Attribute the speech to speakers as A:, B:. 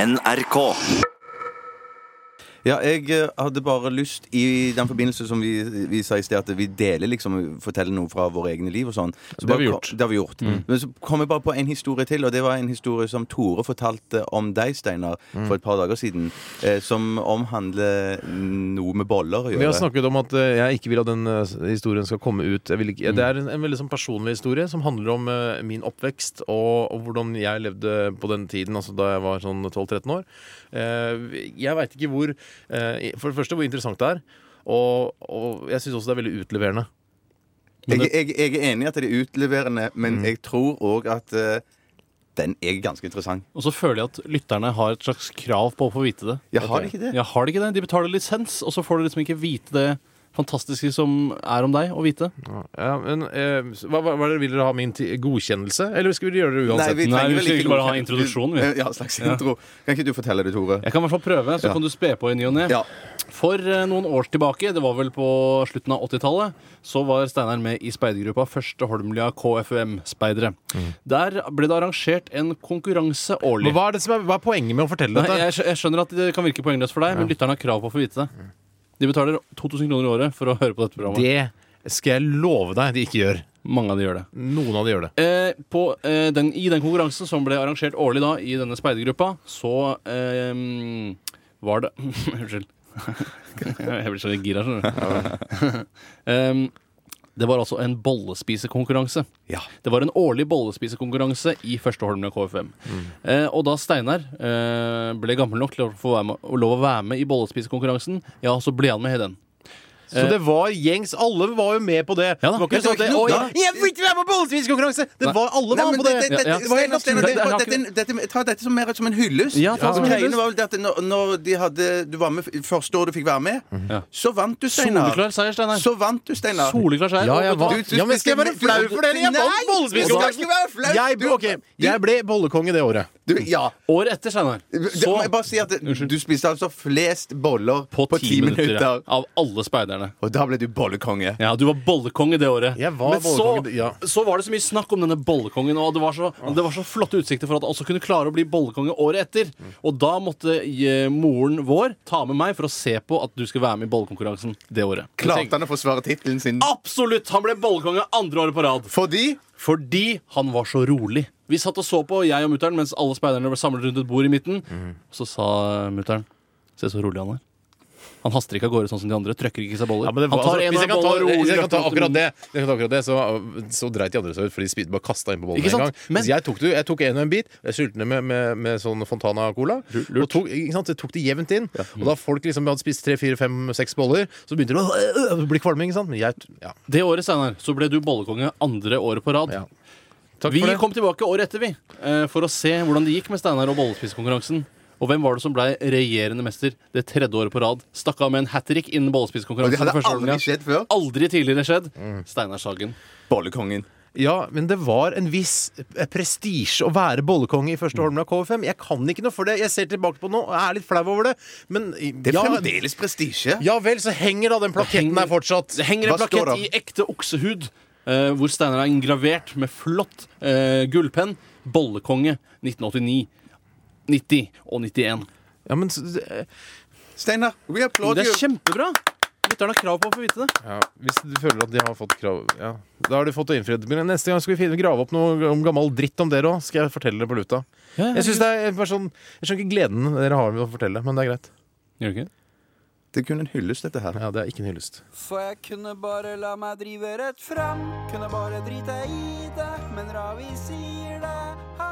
A: NRK.
B: Ja, jeg eh, hadde bare lyst i den forbindelse som vi, vi sa i sted, at vi deler liksom forteller noe fra våre egne liv og sånn. Så
C: det har
B: bare
C: vi gjort.
B: kom- Det har vi gjort. Men så kom jeg bare på en historie til, og det var en historie som Tore fortalte om deg, Steinar, for et par dager siden, eh, som omhandler noe med boller å
C: Vi har
B: gjøre.
C: snakket om at eh, jeg ikke vil at den eh, historien skal komme ut. Jeg vil ikke, Det er en, en veldig sånn personlig historie som handler om eh, min oppvekst og, og hvordan jeg levde på den tiden, altså da jeg var sånn 12-13 år. Eh, Jeg veit ikke hvor eh, For det første hvor interessant det er, og, og jeg syns også det er veldig utleverende. Men
B: Jeg, jeg, jeg er enig i at det er utleverende, men jeg tror òg at eh, den er ganske interessant.
D: Og så føler jeg at lytterne har et slags krav på å få vite det.
B: Jeg har ikke det.
D: Ja, har de ikke det? De betaler lisens, og så får du liksom ikke vite det fantastiske som er om deg å vite.
C: Ja, men eh, hva, hva, hva er det, Vil dere ha min ti- godkjennelse, eller skal vi gjøre det uansett?
D: vi- Nei, vi skal
B: ikke
D: bare ha
B: godkjent-
D: introduksjonen, vi.
B: Ja, slags intro. Kan ikke du fortelle det, Tore?
D: Jeg kan i hvert fall prøve, så
B: Ja.
D: kan du spe på i ny og ne.
B: Ja.
D: For eh, noen år tilbake, det var vel på slutten av 80-tallet, så var Steinar med i speidergruppa Første Holmlia KFUM-speidere. Der ble det arrangert en konkurranse
C: Mm.
D: årlig.
C: Men hva, er det som er, hva er poenget med å fortelle
D: Nei,
C: dette?
D: jeg, skj- jeg skjønner at det kan virke poengløst for deg, men lytterne har krav på å få vite det. De betaler 2000 kroner i året for å høre på dette programmet.
C: Mm. Det skal jeg love deg de ikke gjør.
D: Mange av de gjør det.
C: Noen av de gjør det.
D: Eh, på, eh, den, I den konkurransen som ble arrangert årlig da i denne speidergruppa, så eh, var det Unnskyld. jeg blir så gira, skjønner du. Em, det var altså en bollespisekonkurranse.
B: Ja.
D: Det var en årlig bollespisekonkurranse i Første Holmlia KFM. Eh, og da Steinar eh, ble gammel nok til å få være med, å lov å være med i bollespisekonkurransen, ja, så ble han med i den.
C: Så det var gjengs. Alle var jo med på det.
D: Ja
C: det
D: da.
C: var ikke sånn
D: Men det var
C: at det,
D: ikke noe-
C: «Oi, jeg vil ikke være med på bollespisekonkurranse! Det
D: Nei.
C: var alle
B: Nei,
C: var
B: men
C: med på det.
B: det- det-
D: Ja, ja.
B: det- Steinar, Steinar,
D: Det er
B: bare
D: ikke-
B: dette- dette- Ta dette som mer som en hyllest.
D: Ja, ta det som en
B: Greiene
D: hyllest.
B: var vel det at når, når de hadde, du var med f- første år du fikk være med,
D: Ja.
B: så vant du, Steinar.
D: Soleklar seier, Steinar.
B: Så vant du, Steinar.
D: Soleklar seier.
C: Ja, jeg
D: Og vet du hva?
C: vant. Ja, men skal jeg være flau for det, eller? Jeg vant
B: Nei,
C: bollespisekonkurransen.
B: du skal ikke være flau.
C: Jeg,
B: Du-
C: ok, jeg ble bollekonge det året.
B: Du, ja.
D: Året etter, Steinar,
B: Det, må
D: så
B: jeg bare si at du spiste altså flest boller
D: på ti minutter, ja, av alle speiderne.
B: Og da ble du bollekonge.
D: Ja, du var bollekonge det året.
C: Jeg var
D: Men så,
C: bollekonge det- ja. Ah.
D: så var det så mye snakk om denne bollekongen, og det var, så, det var så flotte utsikter for at han også kunne klare å bli bollekonge året etter.
C: Mm.
D: Og da måtte eh, moren vår ta med meg for å se på at du skulle være med i bollekonkurransen det året.
B: Klarte han å forsvare tittelen sin?
D: Absolutt! Han ble bollekonge andre året på rad.
B: Fordi
D: Fordi han var så rolig. Vi satt og så på, jeg og mutter'n, mens alle speiderne ble samlet rundt et bord i midten. Så sa mutter'n Se så rolig han er. Han haster ikke av gårde sånn som de andre. Trøkker ikke i seg boller.
C: Ja, men det var,
D: han tar
C: altså,
D: en
C: hvis
D: og
C: jeg
D: en
C: kan ta,
D: bolle rolig.
C: hvis jeg kan ta
D: løfter
C: akkurat
D: den.
C: det, hvis jeg kan ta akkurat det så, så dreit de andre seg ut, for de spid- bare kasta innpå bollen
D: Ikke
C: med en
D: sant?
C: gang.
D: Men-
C: så jeg tok, det, jeg tok en og en bit, jeg sylte ned med, med, med sånn Fontana-cola. Og tok, ikke sant? Jeg tok det jevnt inn. Og da folk liksom hadde spist tre, fire, fem, seks boller, så begynte det å øh, øh, bli kvalme. Ikke sant? Men jeg, ja,
D: Det året, Steinar, så ble du bollekonge andre året på rad.
C: ja.
D: vi
C: for det.
D: kom tilbake året etter, vi, eh, for å se hvordan det gikk med Steinar og bollespisekonkurransen. Og hvem var det som ble regjerende mester det tredje året på rad? Stakk av med en hat trick innen
B: Og
D: bollespisekonkurransen.
B: det hadde
D: for første
B: aldri
D: gangen.
B: skjedd før.
D: Aldri tidligere skjedd. Steinar Sagen.
B: Bollekongen.
C: Ja, men det var en viss eh, prestisje å være bollekonge i første Holmlia KFM. Jeg kan ikke noe for det. Jeg ser tilbake på det nå og er litt flau over det. Men
B: Det er
C: ja,
B: fremdeles prestisje.
C: ja vel, så henger da den plaketten
D: henger-
C: der fortsatt.
D: Det henger en
B: Hva står
D: plakett
B: det?
D: i ekte oksehud, eh, hvor Steinar er engravert med flott eh, gullpenn. Bollekonge 1989, 90 og 91.
C: Ja, men s- eh,
B: Steinar, we applaud
D: Det
B: you.
D: er kjempebra! Lytterne har krav på å få vite det.
C: ja, Hvis du føler at de har fått krav ja. Da har de fått det innfridd. Men neste gang skal vi finne, grave opp noe om gammel dritt om dere òg. Skal jeg fortelle det på luta.
D: Ja,
C: Jeg synes det er bare sånn Jeg skjønner ikke gleden dere har ved å fortelle, men det er greit.
D: Gjør du ikke?
B: Det er kun en hyllest, dette her.
C: Ja, Det er ikke en hyllest.
E: For jeg kunne bare la meg drive rett fram. Kunne bare drite i det, men Ravi sier det.